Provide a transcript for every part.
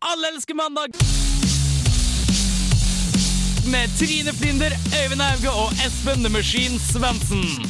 Alle elsker mandag! Med Trine Flinder, Øyvind Auge og Espen The Machine Svendsen.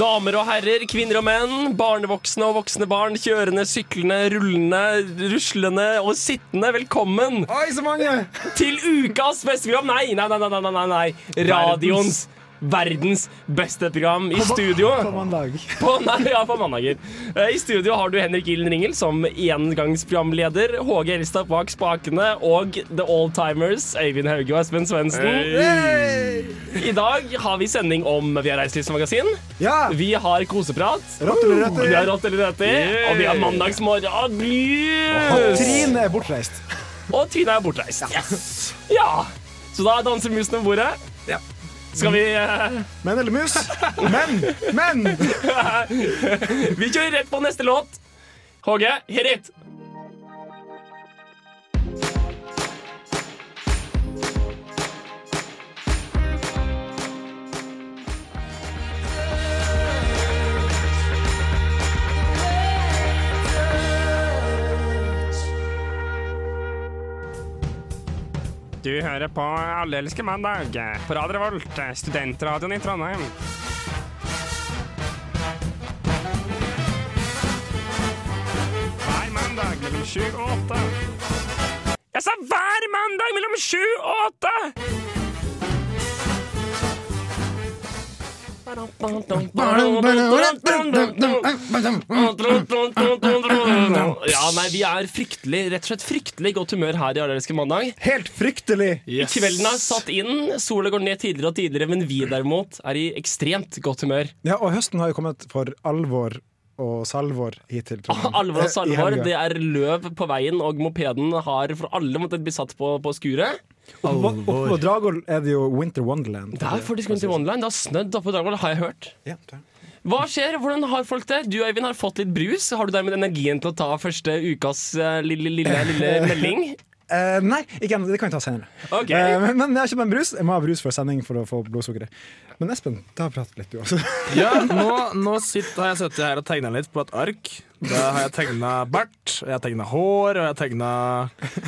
Damer og herrer, kvinner og menn, barnevoksne og voksne barn, kjørende, syklende, rullende, ruslende og sittende. Velkommen Oi, så mange! til ukas beste program! Nei, nei, nei, nei, nei, nei, nei. radioens verdens beste program i studio. På mandag. På, nei, ja, på mandager. Eh, I studio har du Henrik Ilden Ringel som engangsprogramleder, Håge Elstad bak spakene og The Oldtimers, Øyvind Hauge og Espen Svendsen. I dag har vi sending om Vi har reiselivsmagasin. Ja! Vi har koseprat. Rått eller rett? Vi har rått eller rett i, og vi har mandagsmorgen. Yes. Trine er bortreist. Og Trine er bortreist. Yes. Ja. Så da danser musen om bordet. Ja. Skal vi eh, Men eller mus? Men! Men! Vi kjører rett på neste låt. HG, hit it! Du hører på Allelske mandag på Radio Revolt, studentradioen i Trondheim. Hver mandag mellom sju og åtte. Jeg sa hver mandag mellom sju og åtte! Ja, nei, vi er fryktelig, rett og slett fryktelig godt humør her i Allerske mandag. Helt fryktelig. Kvelden er satt inn, sola går ned tidligere og tidligere, men vi derimot er i ekstremt godt humør. Ja, og høsten har jo kommet for alvor og salvor hit til Trondheim. Alvor og salvor, Eh, I helga. det er løv på veien, og mopeden har for alle måttet bli satt på, på skuret. Oppå oppå Dragvoll er det jo Winter Wonderland. Det er faktisk rundt i Wonderland, det har snødd oppe i Dragvoll, har jeg hørt. Ja, det er. Hva skjer, hvordan har folk det? Du Øyvind har fått litt brus, har du dermed energien til å ta første ukas eh, lille, lille, lille melding? Eh, nei, ikke ennå. Det kan vi ta senere. Ok. Eh, men, men jeg har kjøpt meg en brus. Jeg må ha brus før sending for å få blodsukkeret. Men Espen, ta og prat litt, du også. Ja, nå, nå sitt, har jeg sittet her og tegna litt på et ark. Da har jeg tegna bart, og jeg har tegna hår, og jeg har tegna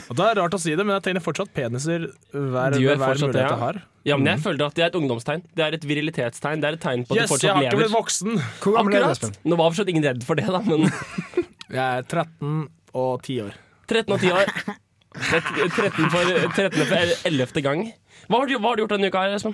Og det er rart å si det, men jeg tegner fortsatt peniser hver, Du gjør hver fortsatt mulighet det, ja. jeg har. Ja, men jeg føler at det er et ungdomstegn, det er et virilitetstegn, det er et tegn på at Yes, du jeg fortsatt har ikke blitt lever. voksen! Hvor gammel er du, Akkurat. Espen? Nå var fortsatt ingen redd for det, da, men Jeg er 13 og 10 år. 13 og 10 år. Tret- 13 for, 13 for 11. gang. Hva har du, hva har du gjort denne uka, her, Espen?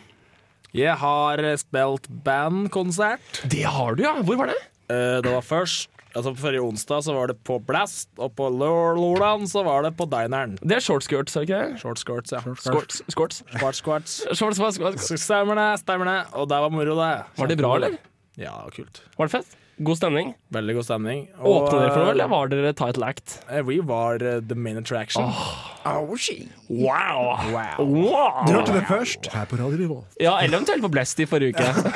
Jeg har eh, spilt bandkonsert. Det har du, ja! Hvor var det? Eh, Det var først Altså på Forrige onsdag så var det på Blast, og på lor- lordagen så var det på dineren. Det er shortskirts, er det ikke det? Short skirts, ja. Skorts. Skorts. Short skirts. Shorts, hva- hva- hva- Stemmer det, stemmer det. Og det var moro, det. Var det bra, eller? Ja, det var kult. Var det fett? God stemning. Veldig god stemning. Og, Åpna dere for noe, eller var dere title act? eh, Vi var eh, the main attraction. Wow! Wow. Du wow. hørte det først her på Radio Revolt. Ja, eller eventuelt på Blest i forrige uke.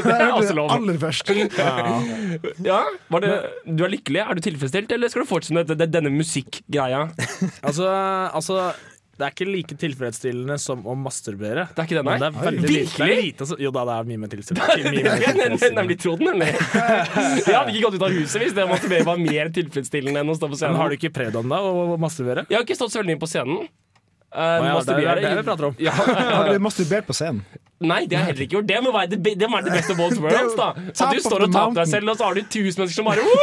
Det er også lov. Aller først. Ja, var det, Du er lykkelig? Er du tilfredsstilt, eller skal du fortsette med dette- denne musikkgreia? Altså, altså det er ikke like tilfredsstillende som å masturbere. Det er ikke det, nei. Men det er veldig lite, det Virkelig? er lite som- Jo da, det er mye mer tilfredsstillende. Mye mer tilfredsstillende. Nemlig tro den, nemlig. Jeg hadde ikke gått ut av huset hvis det å masturbere var mer tilfredsstillende enn å stå på Men scenen. har du ikke prøvd om det, å å masturbere? Jeg har ikke stått så veldig mye på scenen. Eh, ja, det er- det er masturbere- det vi prater om. Ja, Har du masturbert på scenen? Nei, det har jeg heller ikke gjort. Det må være det, be- det, må være det beste of both worlds. da Så Top du of står og the tar på deg mountain. selv, og så har du tusen mennesker som bare «Wow!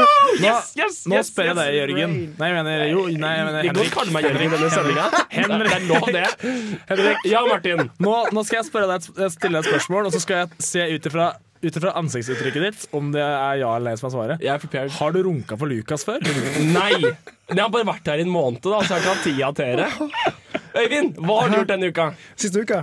Yes, yes, Nå yes, spør jeg yes. deg, Jørgen. Nei, jeg mener jo Nei, jeg mener Det går Henrik. kalle meg Jørgen i denne sendinga. Det er lov, det. Henrik. Ja, Martin. Nå, nå skal jeg spørre deg et, jeg stille deg et spørsmål, og så skal jeg se ut ifra ut ifra ansiktsuttrykket ditt om det er ja eller nei som er svaret. Jeg er prepared. Har du runka for Lukas før? Nei! Jeg har bare vært her i en måned, da, så jeg har ikke hatt tida til dere. Øyvind, hva har du gjort denne uka? Siste uka?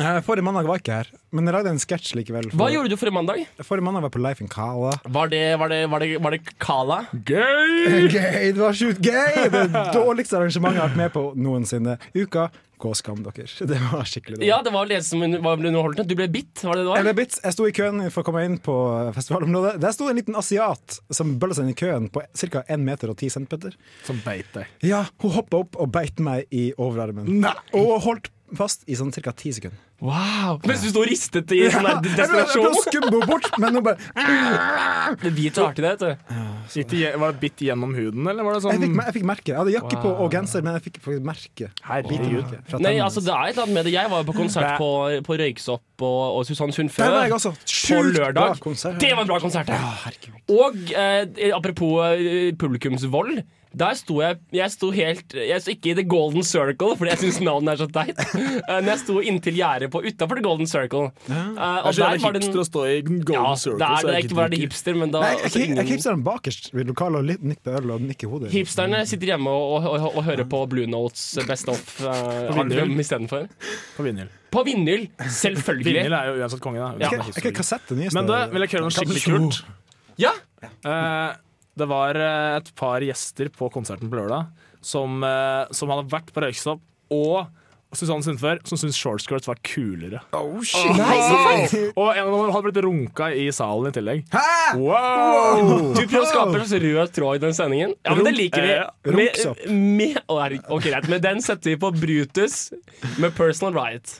Eh, Forrige mandag var jeg ikke her, men jeg lagde en sketsj likevel. Hva gjorde du forrige mandag? Forrige mandag var jeg på Life in Kala. Var det, var det, var det, var det Kala? Gøy! Gøy, det var sjukt gøy! Det dårligste arrangementet jeg har vært med på noensinne. Uka, gå og skam dere. Det var skikkelig dårlig. Ja, det var vel det som under- var vel underholdende. Du ble bitt, var det det Eller var? bits, Jeg sto i køen for å komme inn på festivalområdet. Der sto en liten asiat som bølla seg inn i køen på ca. 1 meter og 10 cm. Som beit deg. Ja, hun hoppa opp og beit meg i overarmen. Og holdt fast i sånn ca. ti sekunder. Wow. Mens du sto og ristet i sånn der Jeg ble- jeg ble desperasjon. skumbo bort, men nå bare Det biter hardt i det, vet du. Gikk det, gje- var det bitt gjennom huden, eller var det jeg fikk, sånn me- jeg fikk merke. Jeg hadde jakke på og genser, men jeg fikk faktisk merke. Herregud. Merke fra Nei, tennene. altså det er et eller annet med det. Jeg var jo på konsert på, på Røyksopp og, og Susann Sund Der før. var jeg også. På Sjukt bra lørdag. konsert. Det var en bra konsert. Ja. Og eh, apropos eh, publikumsvold. Der sto jeg Jeg sto helt Jeg sto ikke i The Golden Circle, fordi jeg syns navnet er så teit. Eh, Men jeg sto inntil gjerdet på utafor The Golden Circle. Eh, Det og er så der jævlig var det en- hipster å stå i Golden Ja, Circle. det er, så det er jeg ikke bare det gidder hipster, men da Nei, jeg altså, jeg- jeg ingen- hipster den bakerst ved lokalet og litt- nikker på øl og nikker hodet. Hipsterne sitter hjemme og, og, og, og hører på Blue Notes Best Off-album istedenfor. På vinyl. På vinyl, selvfølgelig. Vinyl er jo uansett konge, da. Ja. Er ikke- er ikke kassett det nyeste? Men du, vil jeg kjøre noe skikkelig kult? Ja! Eh, det var eh, et par gjester på konserten på lørdag som, eh, som hadde vært på Røyksopp, og Susanne Sundfør, som syntes shortskirts var kulere. Oh, shit. Og en av dem hadde blitt runka i salen i tillegg. Hæ? Du prøver å skape en slags rød tråd i den sendingen. Ja, men det liker vi. eh, Med, rumpsopp. med, å, herregud. ok, greit. Med den setter vi på Brutus med Personal Riot.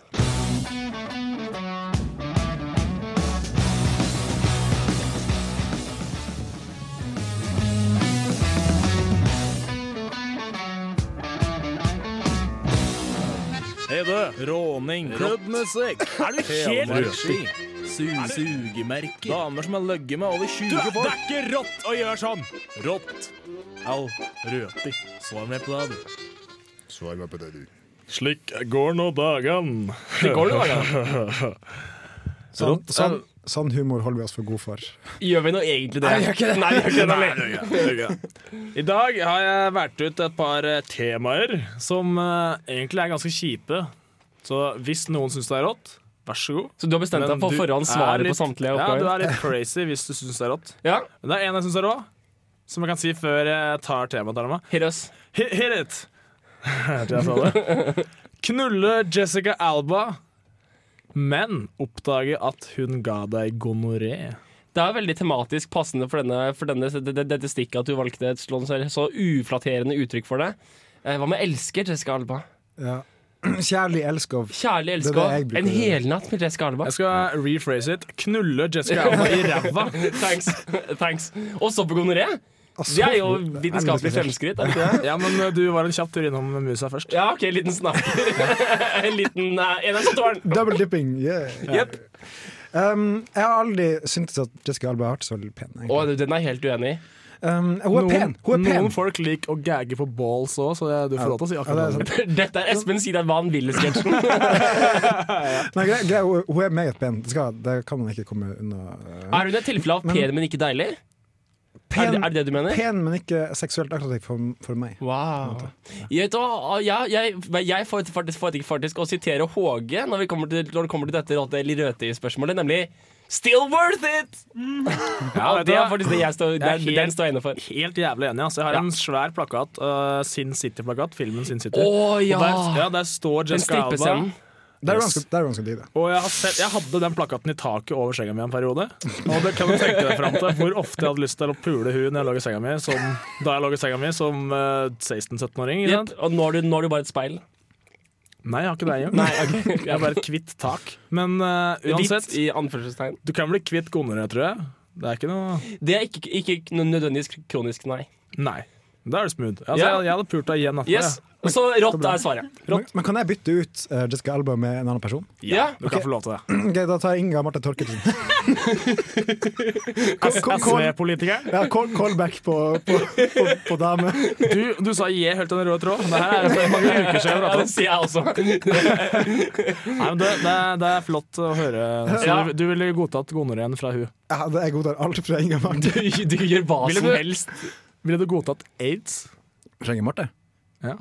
Hei, du. Råning. Klubbmusikk. Er det helt riktig? Sugemerker. Damer som har løgget med over 20 folk. Det er ikke rått å gjøre sånn! Rått. Au. Røti. Svar meg på det, du. Svar meg på det, du. Slik går nå dagene. Det går noen dager. Sånn, sånn, sånn humor holder vi oss for god for. Gjør vi nå egentlig det? Nei, vi gjør ikke det. Nei, vi gjør ikke det. Nei. I dag har jeg valgt ut et par eh, temaer som eh, egentlig er ganske kjipe. Så hvis noen syns det er rått, vær så god. Så du har bestemt deg Men på du forhånd er svaret litt- på samtlige Ja, du oppgaver? er litt crazy hvis du syns det er rått. Ja, Men det er en jeg syns er rå, som jeg kan si før jeg tar temaet. Tarma. hit us. Hit, hit it! Hørte jeg sånn, fra det? Knulle Jessica Alba, men oppdage at hun ga deg gonoré. Det er veldig tematisk passende for, denne, for denne, det, det, dette stikket at du valgte et slån- så uflatterende uttrykk for det. Eh, Hva med elsker Jessica Alba? Ja. Kjærlig elskov. Kjærlig Det er elsker. det jeg bruker En å gjøre. helnatt med Jessica Alba. Jeg skal rephrase it. Knulle Jessica Alba i ræva. Thanks. Thanks. Og så på gonoré. Altså, Det er jo det er vitenskapelig veldig spesielt. fremskritt. Er det ikke det? Ja, men eh, du var en kjapp tur innom musa først. Ja, OK, en liten snakk. en liten eh, En av tårn. Double dipping. Yeah. Jepp. Um, jeg har aldri syntes at Jessica Alba har vært så pen. egentlig. Å, du, den er jeg helt uenig i. Um, hun er pen! Hun er pen. noen folk liker å gagge på balls òg, så det- du får lov til å si Ja, det er akkurat det. sant. Dette er Espen sier deg hva han vil i sketsjen. Nei, grei, grei, hun, hun er meget pen. Det, skal, det kan man ikke komme unna. eh. Er hun et tilfelle av pen, men ikke deilig? Er det, Pen, er det det du mener? pen men ikke seksuelt attraktiv for, for meg. Wow. Jeg, vet hva, jeg, jeg, jeg får faktisk, faktisk, faktisk å sitere Håge når, vi kommer til, når det kommer til dette råte- eller røte-spørsmålet, nemlig Still worth it! Ja, vet du det er hva? faktisk det jeg står, er den, den helt- står jeg inne for. Helt jævlig enig. Altså. Jeg har Ja. en svær plakat. eh, Sin City-plakat. Filmen Sin City. Å, ja. Og der, ja, der står Den Jessica Alba. strippescenen. Der er hun Yes. skal- der er hun skal drive. Og jeg, har sett, jeg hadde den plakaten i taket over senga mi en periode. Og det kan du tenke deg fram til hvor ofte jeg hadde lyst til å pule hun når jeg lå i senga mi, som, da jeg lå i senga mi som eh, 16-17-åring. ikke sant? Jepp, Og nå er, du, nå er du bare et speil. Nei, jeg har ikke det engang. Jeg er bare et hvitt tak. Men eh, uansett, Hvitt i anførselstegn. du kan bli kvitt gonoré, tror jeg. Det er ikke noe Det er ikke, ikke noe nødvendigvis kronisk, nei. Nei. Da er det smooth. Altså, Ja. jeg, jeg hadde pult deg igjen etterpå. Yes, jeg. Så rått er svaret. Men, men kan jeg bytte ut eh, Jessica Alba med en annen person? Ja. Du kan Ok. få lov til det. Ok, Da tar jeg Inga Marte Torkelsen. Call- call- SV-politiker. ja, call- Callback på, på, på, på dame. Du, du sa je helt til den røde tråd. Det her er jo for mange uker Ja, siden. vi pratet om. det sier jeg også. Nei, men det, det, er- det er flott å høre. Så Ja. du, du ville godtatt gonoreen fra hun. Ja, det- jeg godtar alt fra Inga Marte. Du, du gjør hva Ville som du- helst. Ville du godtatt aids? Fra Inga Marte? Ja.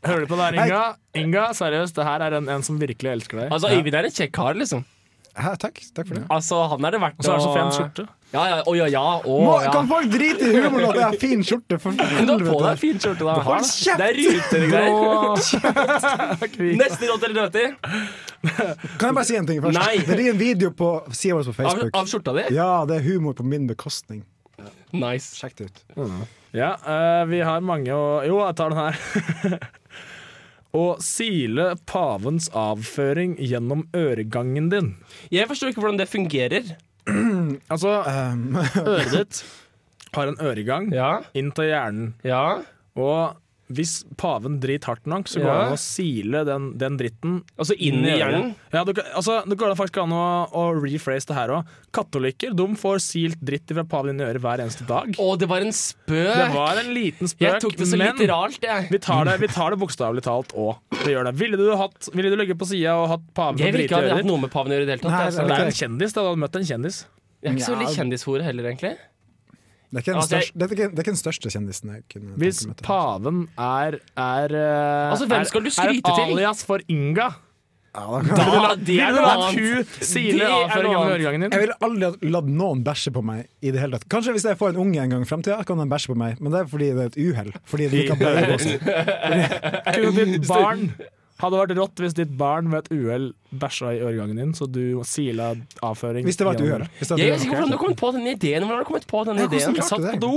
Hører du på det her, Inga? Inga, seriøst, det her er en, en som virkelig elsker deg. Altså, Øyvind er en kjekk kar, liksom. Hæ, takk, takk for det. Altså, Han er det verdt Og så er det så pen skjorte. Ja, ja, å, ja, ja, å, Må, ja. Kan folk drite i humoren at jeg har fin skjorte? For Men Du har på helvete. deg fin skjorte, da. Hold kjeft! Det er ruter og greier. Grå Neste råd eller røti? Kan jeg bare si en ting først? Nei. Det ligger en video på sida vår på Av, Facebook. av skjorta di? Ja, det er humor på min bekostning. Nice. Sjekk det ut. Ja, eh, vi har mange å Jo, jeg tar den her. å sile pavens avføring gjennom øregangen din. Jeg forstår ikke hvordan det fungerer. Altså, Um, øret ditt har en øregang Ja, inn til hjernen. ja, Og hvis paven driter hardt nok, så går Ja. det an å sile den, den dritten Altså inn i øret. hjernen. Ja, du, kan- altså, det går faktisk an å, å rephrase det her òg. Katolikker de får silt dritt fra paven inn i øret hver eneste dag. Å, det var en spøk! Det var en liten spøk, jeg tok det så men litteralt, jeg. vi tar det, vi tar det bokstavelig talt òg. Vi gjør det. Ville du, hatt, ville du ligge på sida og hatt paven Jeg og vil ikke drite i ha hatt øret? ditt? noe med paven å gjøre i det hele tatt. Nei, altså. Det er en kjendis. Da. Du hadde møtt en kjendis. Jeg er ikke så veldig Nja. kjendishore heller, egentlig. det, er ikke den Altså, jeg- største, det, er ikke, det er ikke den største kjendisen jeg kunne Hvis tenke meg til. paven er, er Altså, hvem skal du skryte er til? et alias for Inga. Ja, da kan- Da, det Ville er du noe latt annet. hun Det er sile avføringen noe med annet. øregangen din? Jeg ville aldri ha latt noen bæsje på meg i det hele tatt. Kanskje hvis jeg får en unge en gang i fremtiden, kan han bæsje på meg, men det er fordi det er et uhell. Fordi det ikke har bæsje på seg. Kunne ditt barn hadde vært rått hvis ditt barn ved et uhell bæsja i øregangen din, så du sila avføring Hvis det var et gjennom- uhell. Hvis Jeg det var vet ikke et uhell. hvordan du kom på den ideen. Hvordan har du kommet på den Ja, hvordan ideen? klarte Satt du på det? do,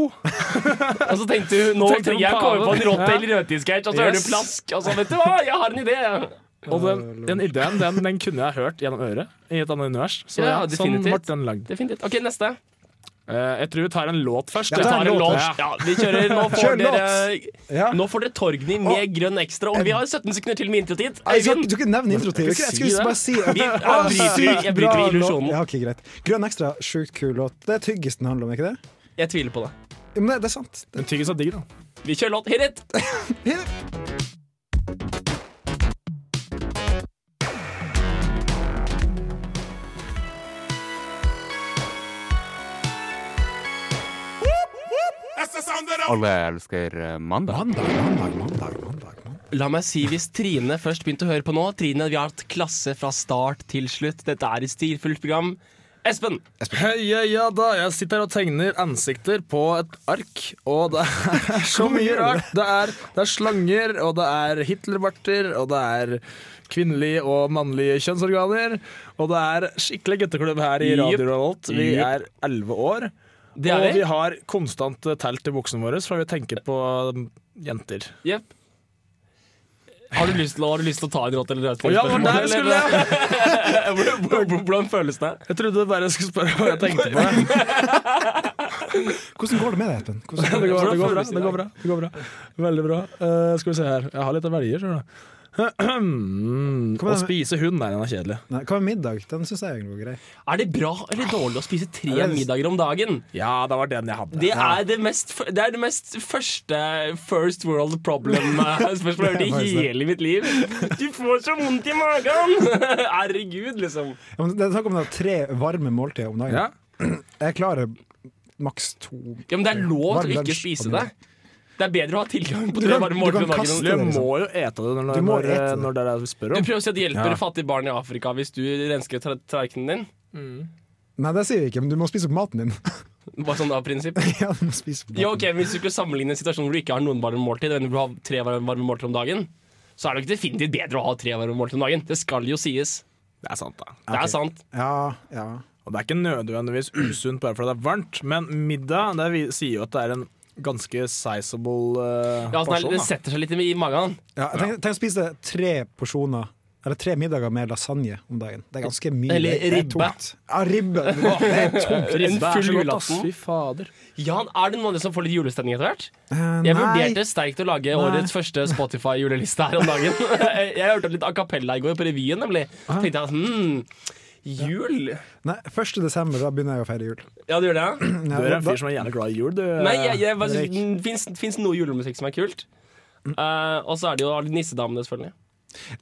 og så tenkte du nå Tenkte på trenger jeg å komme på en paven. rått eller rødtidssketsj, og så hører Yes. du plask, og så vet du hva, jeg har en idé! Og den, den ideen den, den kunne jeg hørt gjennom øret i et annet univers. Så ja, Ja, sånn ble definitivt. den lagd. Definitivt. OK, neste. Eh, jeg tror vi tar en låt først. Ja, jeg. ta en Bare låt, låt. ja. Ja, vi kjører. Nå Kjør får dere Ja. Nå får dere Torgny med grønn ekstra. Og vi har 17 sekunder til med introtid. Jeg skal, Øyvind, du kan ikke nevne intro til. Jeg skulle si det. bare si at vi- jeg bryter, jeg bryter illusjonen. Ja, ok, greit. Grønn ekstra, sjukt kul låt. Det er tyggis den handler om, ikke det? Jeg tviler på det. Ja, men det, det er sant. Den tyggis er digg, da. Vi kjører låt. Hit it! Alle elsker eh, mandag. Mandag, mandag, mandag, mandag. mandag. La meg si hvis Trine først begynte å høre på nå. Trine, vi har hatt klasse fra start til slutt. Dette er et stilfullt program. Espen, Hei, ja, ja da. Jeg sitter her og tegner ansikter på et ark, og det er så mye rart. Det er, det er slanger, og det er Hitlerbarter, og det er kvinnelige og mannlige kjønnsorganer. Og det er skikkelig gutteklubb her i Jep. Radio Revolt. Vi Jep. er elleve år. det er og vi vi. har konstant eh, telt i buksene våre, for vi tenker på um, jenter. Jepp. Har du, lyst til, å- har du lyst til å ta en rått eller rødt? ja, det var der vi skulle, Hvordan føles det? Jeg trodde du bare skulle spørre hva jeg tenkte på. Hvordan går det med deg, Espen? Hvordan- Det går, det går bra. det går bra, det går bra Veldig bra. Eh, skal vi se her. Jeg har litt å velge, skjønner du. Kom Å igjen. spise hund, nei, den er kjedelig. Nei, hva med middag? Den syns jeg egentlig var grei. Er det bra eller dårlig å spise tre Ja, det- middager om dagen? Ja, det var den jeg hadde. Det er det mest, f- det er det mest første first world problem-spørsmålet Det jeg er har hørt faktisk i det. hele mitt liv. Du får så vondt i magen! Herregud, liksom. Ja, men det er snakk om det er tre varme måltider om dagen. Ja. Jeg klarer maks to. Ja, men det er lov Varm til å ikke lunsj spise og det. middag. Det er bedre å ha tilgang på Du tre kan- varme du måltider kan om dagen. kaste Du må jo ete det når, Du må når, ete det. når det er det du spør Du om. prøver å si at det hjelper Ja. fattige barn i Afrika hvis du rensker tra- tallerkenen din. Nei, det sier vi ikke, men du må spise opp maten din. Bare sånn av prinsipp. ja, du må spise opp maten. Ja, ok, men Hvis du skulle sammenligne en situasjon hvor du ikke har noen varme måltid, men du har tre varme varme måltider om dagen, så er det jo ikke definitivt bedre å ha tre varme måltider om dagen. Det skal jo sies. Det er sant, da. Det Ok. er sant. Ja, ja. Og det er ikke nødvendigvis usunt bare fordi det er varmt, men middag det vi- sier jo at det er en ganske sizable eh, Ja, sånn, er- porsjon. det Da. setter seg litt i i magen. ja jeg tenker, tenk å spise tre porsjoner eller tre middager med lasagne om dagen. Det er ganske mye. Eller Det er ribbe. tungt. Ja, ribbe. Det er tungt. En Det er så full godt, ass. julaften. Fy fader. Jan, er det noen andre som får litt julestemning etter hvert? Eh, Jeg nei. vurderte sterkt å lage årets første Spotify-juleliste her om dagen. Jeg hørte litt a cappella i går på revyen, nemlig. Tenkte jeg hm, jul? nei, 1. desember, da begynner jeg å feire jul. Ja, det gjør det? ja. Du Nei, er en da- fyr som er gjerne glad i jul, du. Nei, jeg, jeg, bare Erik. synes- finnes, finnes noe julemusikk som er kult. Eh, og så er det jo alle nissedamene, selvfølgelig.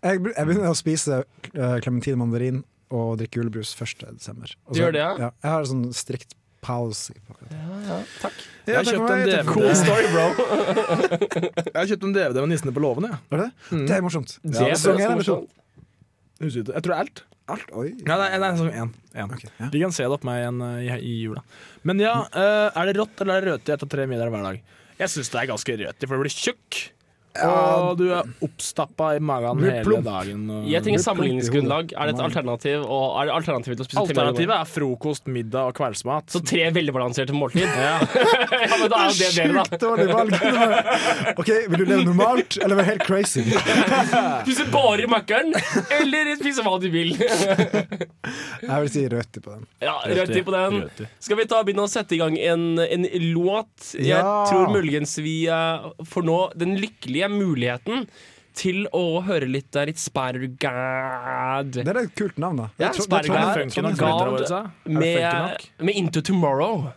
Jeg, be- jeg begynner å spise klementin og mandarin og drikke julebrus 1. desember. Og Du så- gjør det, ja? Jeg har sånn strikt policy på akkurat det. Takk. Jeg Ja, har takk kjøpt for meg. en DVD. Cool story, bro. Jeg har kjøpt en DVD med Nissene på låven. Jeg. Er det? det er morsomt. Mm. Det Ja, er så sesong én eller to? morsomt. Husker ikke. Jeg tror det er alt. Alt, oi. Ja, det er, det er sesong én. én. Ok, ja. De kan se det opp meg igjen eh, i, i jula. Men ja, eh, er det rått eller er det rødt etter tre middager hver dag? Jeg syns det er ganske rødt, for du blir tjukk. Ja, du er oppstappa i magen Du er hele plump. dagen. og- Jeg trenger Blir plump i sammenligningsgrunnlag. Er det et Nei. alternativ? Og er det alternativet til å spise Alternativet er frokost, middag og kveldsmat. Så tre veldig balanserte måltid? Ja. men da er jo det bedre, da. Sjukt dårlig valg. OK, vil du leve normalt, eller være helt crazy? Spise bare makkeren, eller spise hva du vil. Jeg vil si rødt på den. Ja, Rødti på den. Rødti. Skal vi ta begynne å sette i gang en, en låt? Jeg Ja. tror muligens vi eh, får nå den lykkelige muligheten til å høre litt eh, litt Spargad. Det er et kult navn, da. Ja, Jeg tror- sånn Sperregard. jeg tror- Er det funky nok? Trondheim- lytterne våre, sa? Er det funky Med, nok? med Into Tomorrow.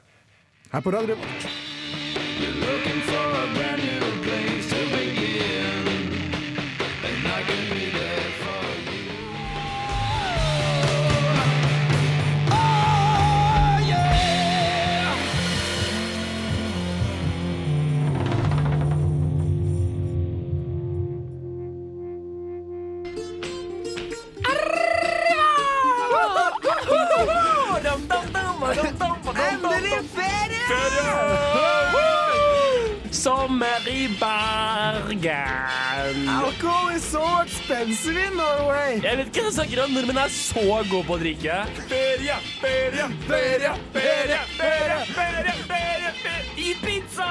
Her på Radio Revolt. Sommer i Bergen. Alcohol is so expensive in Norway. Jeg vet ikke hva jeg snakker om. Nordmenn er så gode på å drikke. Feria, feria, feria, feria, feria, feria, feria, feria. Ibiza!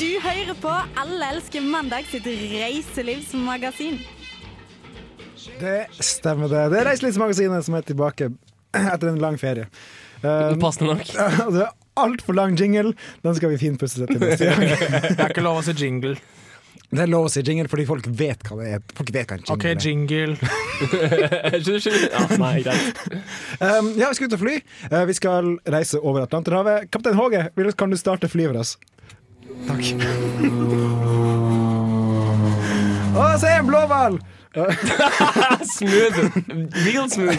Du hører på Alle elsker mandag sitt reiselivsmagasin. Det stemmer, det. Det er Reiselivsmagasinet som er tilbake etter en lang ferie. Um, Passende nok. og det er altfor lang jingle. Den skal vi finpusse til neste gang. Det er ikke lov å si jingle. Det er lov å si jingle fordi folk vet hva det er. Folk vet hva en jingle OK, er. jingle. Skjønner, skjønner. Ja, nei, greit. Um, ja, vi skal ut og fly. Eh, vi skal reise over Atlanterhavet. Kaptein Håge, vil- kan du starte flyet for oss? Takk. Å, se en blåhval! Smooth. Real smooth.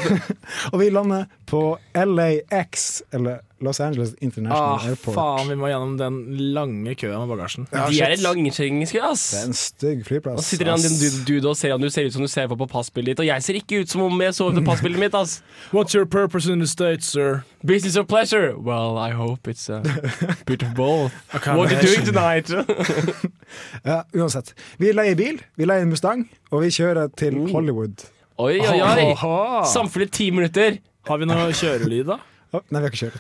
Og vi lander på LAX, eller Los Angeles International Ah, sånn Airport. faen, vi må gjennom den lange køen med bagasjen. De er et langkjengiske, ass. Det er en stygg flyplass. Og sitter han din ass. dude- dude og ser han du ser ut som du ser på på passbildet ditt, og jeg ser ikke ut som om jeg så ut på passbildet mitt, ass. What's your purpose in the States, sir? Business or pleasure? Well, I hope it's a bit of both. can't What are you doing tonight? Ja, uansett. Vi leier bil, vi leier en Mustang, og vi kjører til Oh. Hollywood. Oi, oi, Oh, oi. Oha. Samfunnet ti minutter. Ah. Har vi noe kjørelyd, da? Å, Nei, vi har ikke kjørt.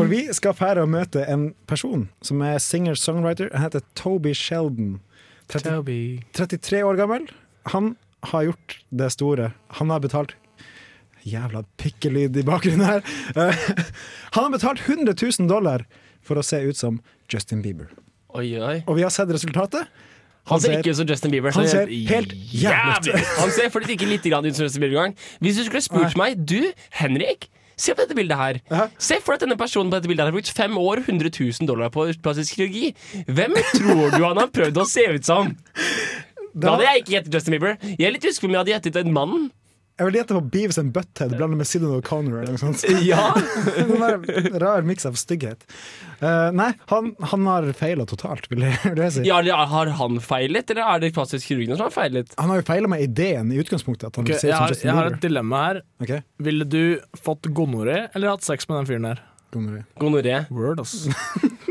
For vi skal fære og møte en person som er singer-songwriter. Han heter Toby Sheldon. 30, 33 år gammel. Han har gjort det store. Han har betalt Jævla pikkelyd i bakgrunnen her. Eh, Han har betalt 100 000 dollar for å se ut som Justin Bieber. Oi, oi. Og vi har sett resultatet. Han ser ser- ikke ut som Justin Bieber. Han ser ser helt jævlig ut. Han ser faktisk ikke litt grann ut som Justin Bieber engang. Hvis du skulle spurt meg Du, Henrik, se på dette bildet her. Hæ? Se for deg at denne personen på dette bildet her har brukt fem år, 100 000 dollar på plastisk kirurgi. Hvem tror du han har prøvd å se ut som? Da hadde jeg ikke gjettet Justin Bieber. Jeg er litt usikker på om jeg hadde gjettet en mann. Jeg vil gjette på Beavis and Butthead blandet med Sidney O'Connor eller noe sånt. Ja En sånn rar miks av stygghet. Eh, nei, han, han har feila totalt, vil jeg, vil jeg si. eller Har han feilet, eller er det plastisk kirurgene som har feilet? Han har jo feila med ideen i utgangspunktet. At han Ok, ser ut jeg, som har, Justin jeg har Bieber. et dilemma her. Ok, Ville du fått gonoré eller hatt sex med den fyren der? kommer vi. Gonoré. Word, ass.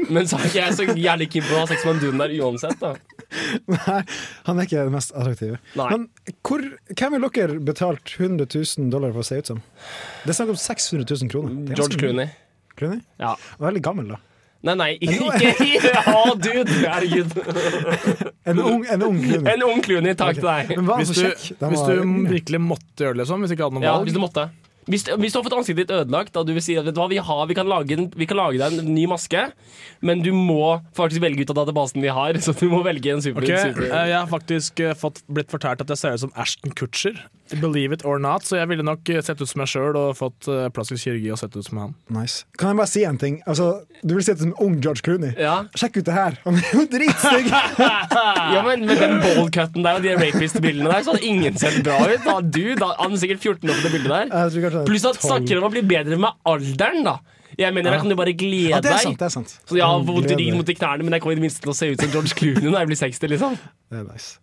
Men så er ikke jeg så jævlig keen på å ha sex med han duden der uansett, da. Nei, han er ikke den mest attraktive. Nei. Men hvor, hvem vil dere betalt 100 000 dollar for å se ut som? Det er snakk om 600 000 kroner. Det er George ganske mye. Clooney. Clooney? Ja. Veldig gammel, da. Nei, nei, ikke Ja, dude! Herregud. En ung, en ung Clooney. En ung Clooney, takk til deg. Men var han Ah, så Hvis du, kjekk? Den hvis var mm, du yngre. virkelig måtte gjøre det, liksom. Hvis du ikke hadde noe Ja, valg. hvis du måtte. Hvis, hvis du har fått ansiktet ditt ødelagt, da du vil si at vet du hva, vi, har, vi, kan lage en, vi kan lage deg en ny maske, men du må faktisk velge ut av databasen vi har, så du må velge en super, Ok, eh, super. Jeg har faktisk eh, fått, blitt fortalt at jeg ser ut som Ashton Kutcher. Believe it or not, så jeg ville nok eh, sett ut som meg sjøl og fått eh, plastisk kirurgi og sett ut som han. Nice. Kan jeg bare si en ting? Altså, du vil se ut som en ung George Clooney. Ja. Sjekk ut det her! Han er jo dritstygg! Ja, men Med den bowl-cutten der og de rapist-bildene der, så hadde ingen sett bra ut. Da, du, da, han er sikkert 14 år på det bildet der. Jeg tror kanskje det er Pluss at 12. snakker om å bli bedre med alderen, da. Jeg mener, Da kan du bare glede Ja, det er deg. sant. det er sant Så jeg har Han vondt i gleder. ryggen mot i knærne, men jeg kommer i det minste til å se ut som George Clooney når jeg blir 60. liksom Det er nice.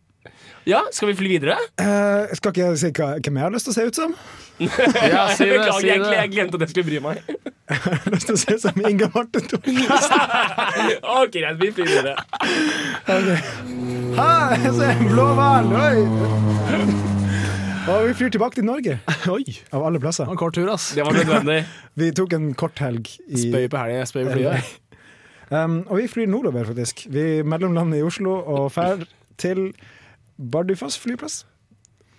Ja, Skal vi fly videre? Eh, skal ikke jeg si hva, hvem jeg har lyst til å se ut som? Ja, Beklager, jeg, jeg glemte at jeg skulle bry meg. Jeg har lyst til å se ut som Inga Marte Thorkildsen. Ok, greit, vi finner det. Hei, jeg ser en blå hval! Oi! Og vi flyr tilbake til Norge, Oi, av alle plasser. det var en kort tur, ass. Det var nødvendig. Vi tok en kort helg i Spøy på helga, spøy på flyet. um, Og vi flyr nordover, faktisk. Vi mellomlander i Oslo og drar til Bardufoss flyplass.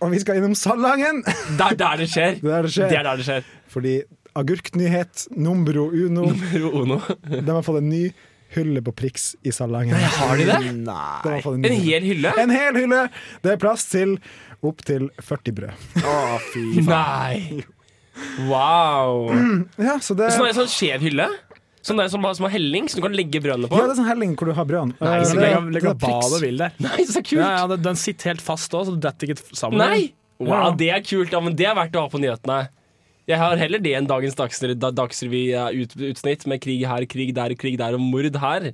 Og vi skal innom Salangen! Det er der det skjer. Det er der Det er det skjer. der det skjer. Fordi agurknyhet, numbro uno, Ro, Ono. de har fått en ny hylle på Prix i Salangen. Har de det? De har fått en, ny En hylle. hel hylle? en hel hylle! Det er plass til opptil 40 brød. Nei. Wow. Mm. Ja, så det Sånn er det sånn skjev hylle? Sånn der som har, som har helling, som du kan legge brødene på? Ja, det er sånn helling hvor du har brødene. Nei, Eh, så det- legg av- det legg er av hva Prix. du vil der. Nei, så kult! Ja, ja, den- Den sitter helt fast òg, så du detter ikke sammen. Nei! Ja. Wow, det er kult. Ja, men det er verdt å ha på nyhetene. Jeg har heller det enn dagens Dagsrevy- da- Dagsrevy-utsnitt med krig her, krig der, krig der og mord her.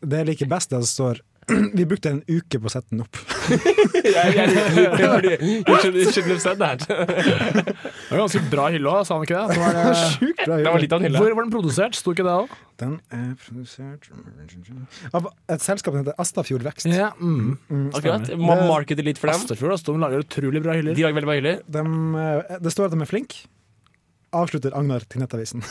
Det jeg liker best, det som står Vi brukte en uke på å sette den opp. Jeg, jeg, jeg, you should- you shouldn't have said that. Det var ganske bra hylle òg, sa han ikke det? det? Det Var, er sjukt bra Det var gjort. litt av en hylle. hvor var den produsert? Sto ikke det òg? Den er produsert av et selskap som heter Astafjord Vekst. Ja, mm. Akkurat. Må markete litt for dem. Astafjord ass, de lager utrolig bra hyller. De lager veldig bra hyller. Dem, eh, det står at de er flinke. Avslutter Agnar til Nettavisen.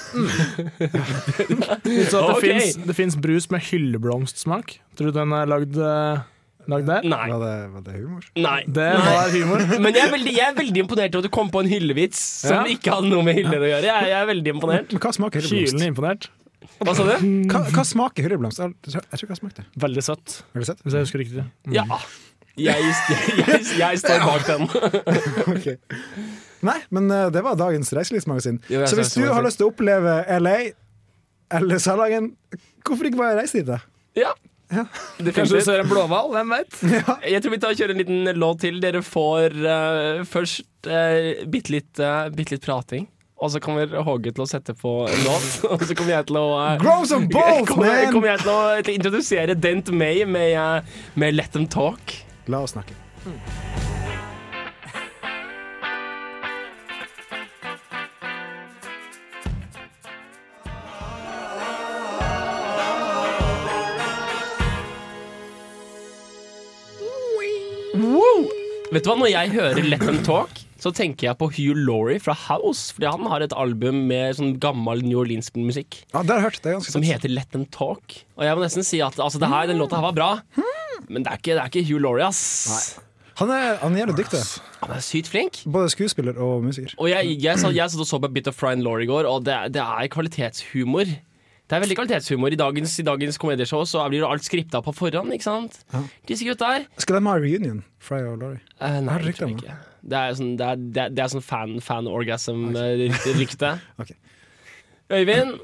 Så at Ok. det finnes- det fins brus med hylleblomstsmak. Tror du den er lagd, eh, lagd der? Nei. Var det, var det humor? Nei. Det var humor. Men jeg er, veldig, jeg er veldig imponert over at du kom på en hyllevits som Ja. ikke hadde noe med hyller å gjøre. Jeg, jeg er veldig imponert. Men hva smaker Kylende hylleblomst? imponert. Hva sa du? Hva, hva smaker hylleblomst? Jeg tror jeg tror ikke jeg har smakt det. Veldig søtt, Har du sett? hvis jeg husker riktig. Ja. Jeg, jeg, jeg står bak den. Ok. Nei, men eh, det var dagens reiselivsmagasin. Jo, jeg Så hvis sa- du har lyst til å oppleve LA eller Salangen, hvorfor ikke bare reise dit, da? Ja. Kanskje du Definitivt. ser en blåhval? Hvem veit? Jeg tror vi tar og kjører en liten låt til. Dere får eh, først uh, bitte litt, eh, bitte litt prating. Og så kommer Håge til å sette på en låt. Og så kommer jeg til å eh, Grow some balls, kommer, man! kommer jeg til å, eh, til å introdusere Dent May med, eh, med Let Them Talk. La oss snakke. Vet du hva, Når jeg hører Let Them Talk, så tenker jeg på Hugh Laurie fra House. Fordi han har et album med sånn gammel New Orleans-musikk Ja, det har jeg hørt. Det er ganske som sant. heter Let Them Talk. Og jeg må nesten si at altså, det her, den låta her var bra, men det er ikke, det er ikke Hugh Laurie, ass. Han er, han er jævlig dyktig. Han er sykt flink. Både skuespiller og musiker. Og jeg, jeg, satt, jeg satt og så på Bit of Fry and Laure i går, og det, er- det er kvalitetshumor. Det er veldig kvalitetshumor. I dagens, i dagens komedieshow så blir jo alt skripta på forhånd, ikke sant? Disse gutta her Skal de ha reunion? Fry og Laurie. eh, Nei, Har du jeg tror rykte om ikke. Det er sånn, det er, det er, det er sånn fan, fan orgasm-rykte. Ok. Øyvind,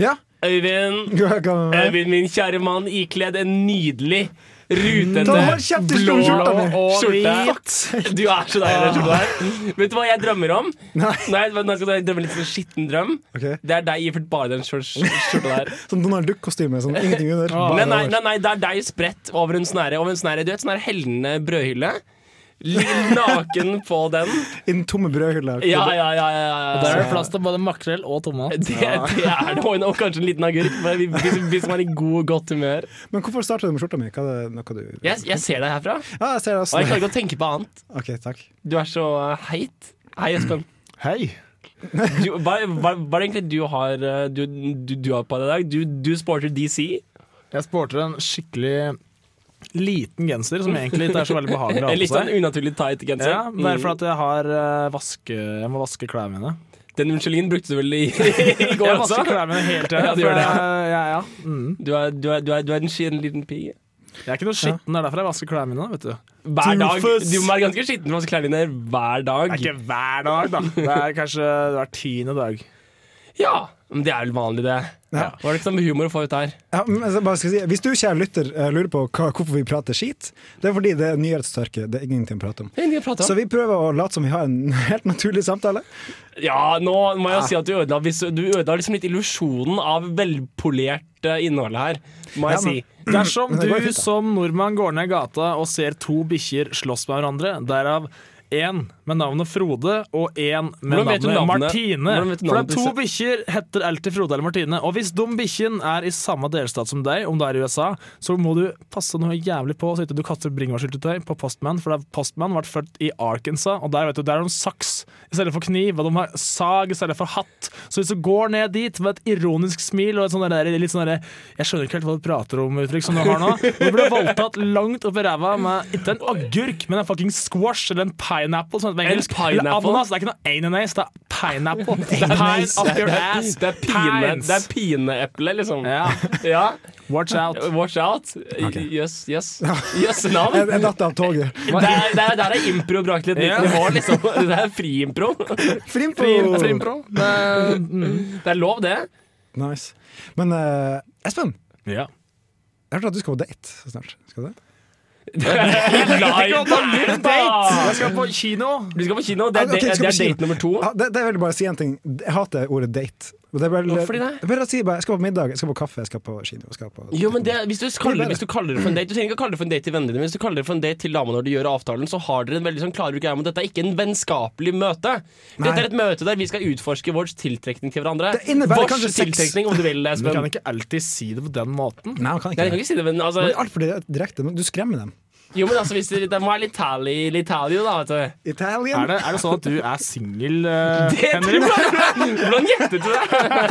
Ja, Øyvind, hva kan det være? Øyvind, min kjære mann, ikledd en nydelig rutete Ta hold kjeft i eh, blå skjorta mi! Ah. og hvit Fuck. Du er så deilig. som du er. Vet du hva jeg drømmer om? Nei. Nei, nå skal jeg drømme litt sånn skitten drøm. Ok. Det er deg iført bare den skjør- skjorta der. Sånn Donald Duck-kostyme. Sånn ingenting under. Ah. Nei, Bare nei, nei, over. nei, det er deg spredt over en snære. Over en snære. Du vet, sånn her hellende brødhylle. Litt naken på den. I den tomme brødhylla. Ja, ja, ja. ja, ja, Der er ja. det plass til både makrell og tomat. Det, det er det. Og en- og kanskje en liten agurk, men vi- hvis, hvis man er i god, godt humør. Men hvorfor starter du med skjorta mi? Hva er det noe du Ja, Jeg, jeg ser deg herfra, og jeg ser det jeg også. klarer ikke å tenke på annet. OK, takk. Du er så eh, heit. Hei, Espen. Hei! Du, hva, hva, hva er det egentlig du har, eh, du, du, du har på deg i dag? Du, du sporter DC. Jeg sporter en skikkelig liten genser, som egentlig ikke er så veldig behagelig å En ha litt på sånn seg. unaturlig tight genser. Mm. Ja, bare for at jeg har eh, vaske, Jeg må vaske klærne mine. Den unnskyldningen brukte du vel i, i går Jeg vasker også? klærne mine hele tida. Ja, du gjør det, ja. ja, ja. Mm. Du er, du, er, du, er, du er en skitten liten pige. Jeg er ikke noe skitten, det er derfor jeg vasker klærne mine. vet du Det Hver dag. Doofus. Du må være ganske skitten for å vaske klærne dine hver dag. er ikke hver dag, da. Det er kanskje hver tiende dag. Ja, men det er vel vanlig, det. Ja. Hva er det som er humor å få ut her? Ja, men jeg bare skal si, hvis du, kjære lytter, eh, lurer på hva, hvorfor vi prater skit, det er fordi det er nyhetstørke. Det er ingenting å prate om. Det er mye å prate Så om. vi prøver å late som vi har en helt naturlig samtale. Ja, nå må jeg si at du ødela, hvis- du ødela liksom litt illusjonen av velpolert eh, innhold her, må jeg Ja, men- si. Dersom Men det går du fint, da. som nordmann går ned gata og ser to bikkjer slåss med hverandre, derav én med navnet Frode og én med Hvordan vet navnet, du navnet- Martine. Hvordan vet du For navnet det på er to bikkjer heter alltid Frode eller Martine. Og hvis de bikkjene er i samme delstat som deg, om du er i USA, så må du passe noe jævlig på så ikke du kaster bringebærsyltetøy på Postman, for det er Postman ble født i Arkansas, og der vet du, der har de saks i stedet for kniv, og de har sag i stedet for hatt. Så hvis du går ned dit med et ironisk smil og et sånn der, litt sånn der, jeg skjønner ikke helt hva du prater om, uttrykk som du har nå, du blir voldtatt langt opp i ræva med ikke en agurk, men en fucking squash eller en pineapple, som heter på engelsk. Eller pineapple? ananas, det er ikke noe ananas, det er pineapple. Det er pine up your ass. Det er pine- Pines. det er pineeple, liksom. Ja, Ja. watch out. Watch out. Yes, yes. Yes, navn. Jeg, jeg datt av toget. Det er, det er, der er impro brakt til et nytt nivå, liksom. Det er friimpro. Frimpo! Friimpro. Det, er- det er lov, det. Nice. Men eh, Espen, Ja. jeg hørte at du skal på date snart. Skal du det? Live Jeg skal på kino. Du skal på kino. Det er, Ah, det, Ok, skal Ah. det vi er si date nummer to. Ja, det, det vil jeg bare si en ting. Jeg hater ordet date. Det er bare, Hvorfor det? Jeg bare sier bare, jeg skal på middag, jeg skal på kaffe, jeg skal på kino. Jeg skal på Jo, men det, hvis, du kaller, hvis du kaller det for en date Du trenger ikke å kalle det for en date til vennene dine, men hvis du kaller det for en date til dama når du gjør avtalen, så har dere en veldig sånn klar greie om at dette er ikke en vennskapelig møte. Dette er et møte der vi skal utforske vår tiltrekning til hverandre. Det innebærer Vårs kanskje sex. tiltrekning, om du vil, Du kan Espen. ikke alltid si det på den måten. Nei, man kan Nei, jeg ikke kan det. ikke si det, men altså, Man er altfor direkte. men Du skremmer dem. jo, men altså hvis det, det må være litt tally, litt tally, da, vet du. Italian. Er det, er det sånn at du er singel, uh, Henrik? Hvordan gjettet du det?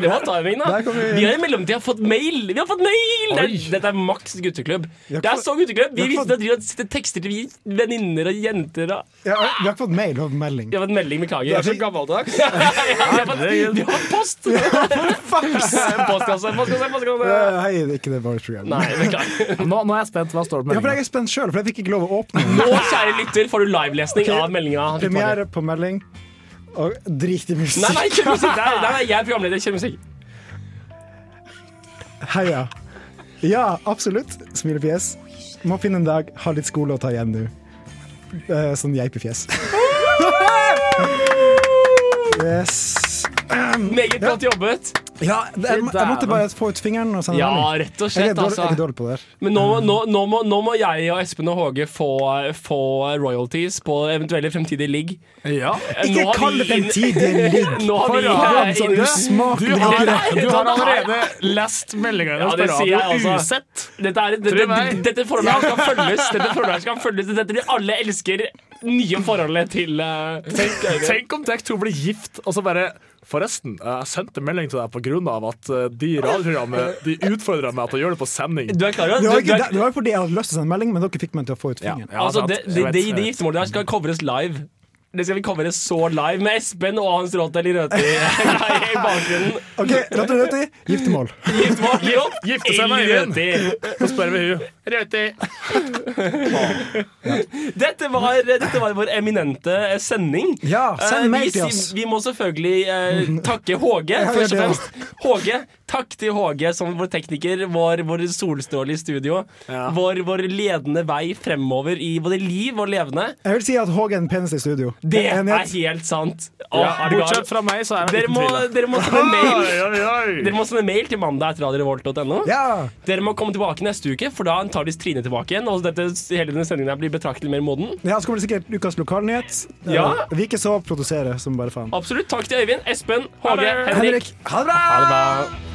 det var timing, da. Der kom vi- Vi har i mellomtida fått mail! Vi har fått mail! Det er, dette er maks gutteklubb. har Det er fått- så gutteklubb! Vi vi har fått- visste at vi hadde sett tekster til vi- venninner og jenter og Ja, vi har ikke fått mail, vi har fått melding. Vi har fått melding, beklager. Det er så gammeldags. ja, vi, har fått, vi har fått post! Postkasse, postkasse, postkasse. Eh, Hei, det er ikke det bare programmet. Nei, beklager. Nå, nå er jeg spent. Hva står det på Ja, for meldingen? jeg er spent sjøl, for jeg fikk ikke lov å åpne den. Nå, kjære lytter, får du livelesning Ok, av meldinga. Nei, Premiere på melding. Og drit i musikk. nei, ikke musikk. Nei, nei, nei, jeg er programleder, ikke musikk. Heia. Ja, absolutt. Smilefjes. Må finne en dag, ha litt skole å ta igjen nå. Eh, Sånn geipefjes. Yes. Meget godt jobbet. Ja, det, jeg, jeg måtte bare få ut fingeren og sende Ja, melding. rett og Jeg er slett, dårlig, jeg er altså. dårlig på det her. Men nå, nå, nå, må, nå må jeg og Espen og Håge få, få royalties på eventuelle fremtidige ligg. Ja. Nå Ikke har kall det vi inn- fremtidige ligg. Nå har vi Foran, eh, så inn- du Smak Du har, du har Nei, allerede lest meldingene Ja, hennes det på sier jeg radio også. usett. Dette, er, dette, Tror meg. dette, forholdet her skal følges. Dette forholdet her skal følges Dette blir alle elsker nye forholdet til eh, Tenk om dere to blir gift, og så bare Forresten, jeg sendte melding til deg på grunn av at eh, de i radioprogrammet De utfordra meg til å gjøre det på sending. Du er klar over Det var, at du- ikke, du er- det var fordi jeg hadde lyst til å sende melding, men dere fikk meg til å få ut fingeren. Ja, Altså, sant. det, det, Jeg vet, det, jeg det vet. giftermålet der skal covres live. Det skal vi covre så live med Espen og hans råte eller røte i i bakgrunnen. Ok, rett og slett, giftermål. Giftermål, rått, Gifte seg med eller Øyvind. røte. Så spør vi hun. Dette var, dette var vår eminente eh, sending. Ja, send Eh, mail vi, til si- oss. Vi må selvfølgelig eh, takke Håge, Ja, først og gjør det, fremst. Håge, takk til Håge som vår tekniker, vår, vår solstråle i studio. Vår, vår ledende vei fremover i både liv og levende. Jeg vil si at Håge er den peneste i studio. Det er Enighet. helt sant. Å, Ja, er du gal? bortsett fra meg, så er jeg Dere uten må, tvil. dere må sende mail. Oi, oi, oi. Dere må sende mail til mandag etter radiorevolt.no. Ja! Dere må komme tilbake neste uke, for da tar de Trine tilbake igjen. Og dette, hele denne sendingen her blir betraktelig mer moden. Ja, så kommer det sikkert ukas lokalnyhet. Ja. Eh, Vike så produserer som bare faen. Absolutt. Takk til Øyvind, Espen, Håge, Henrik. Henrik, ha det bra! Ha det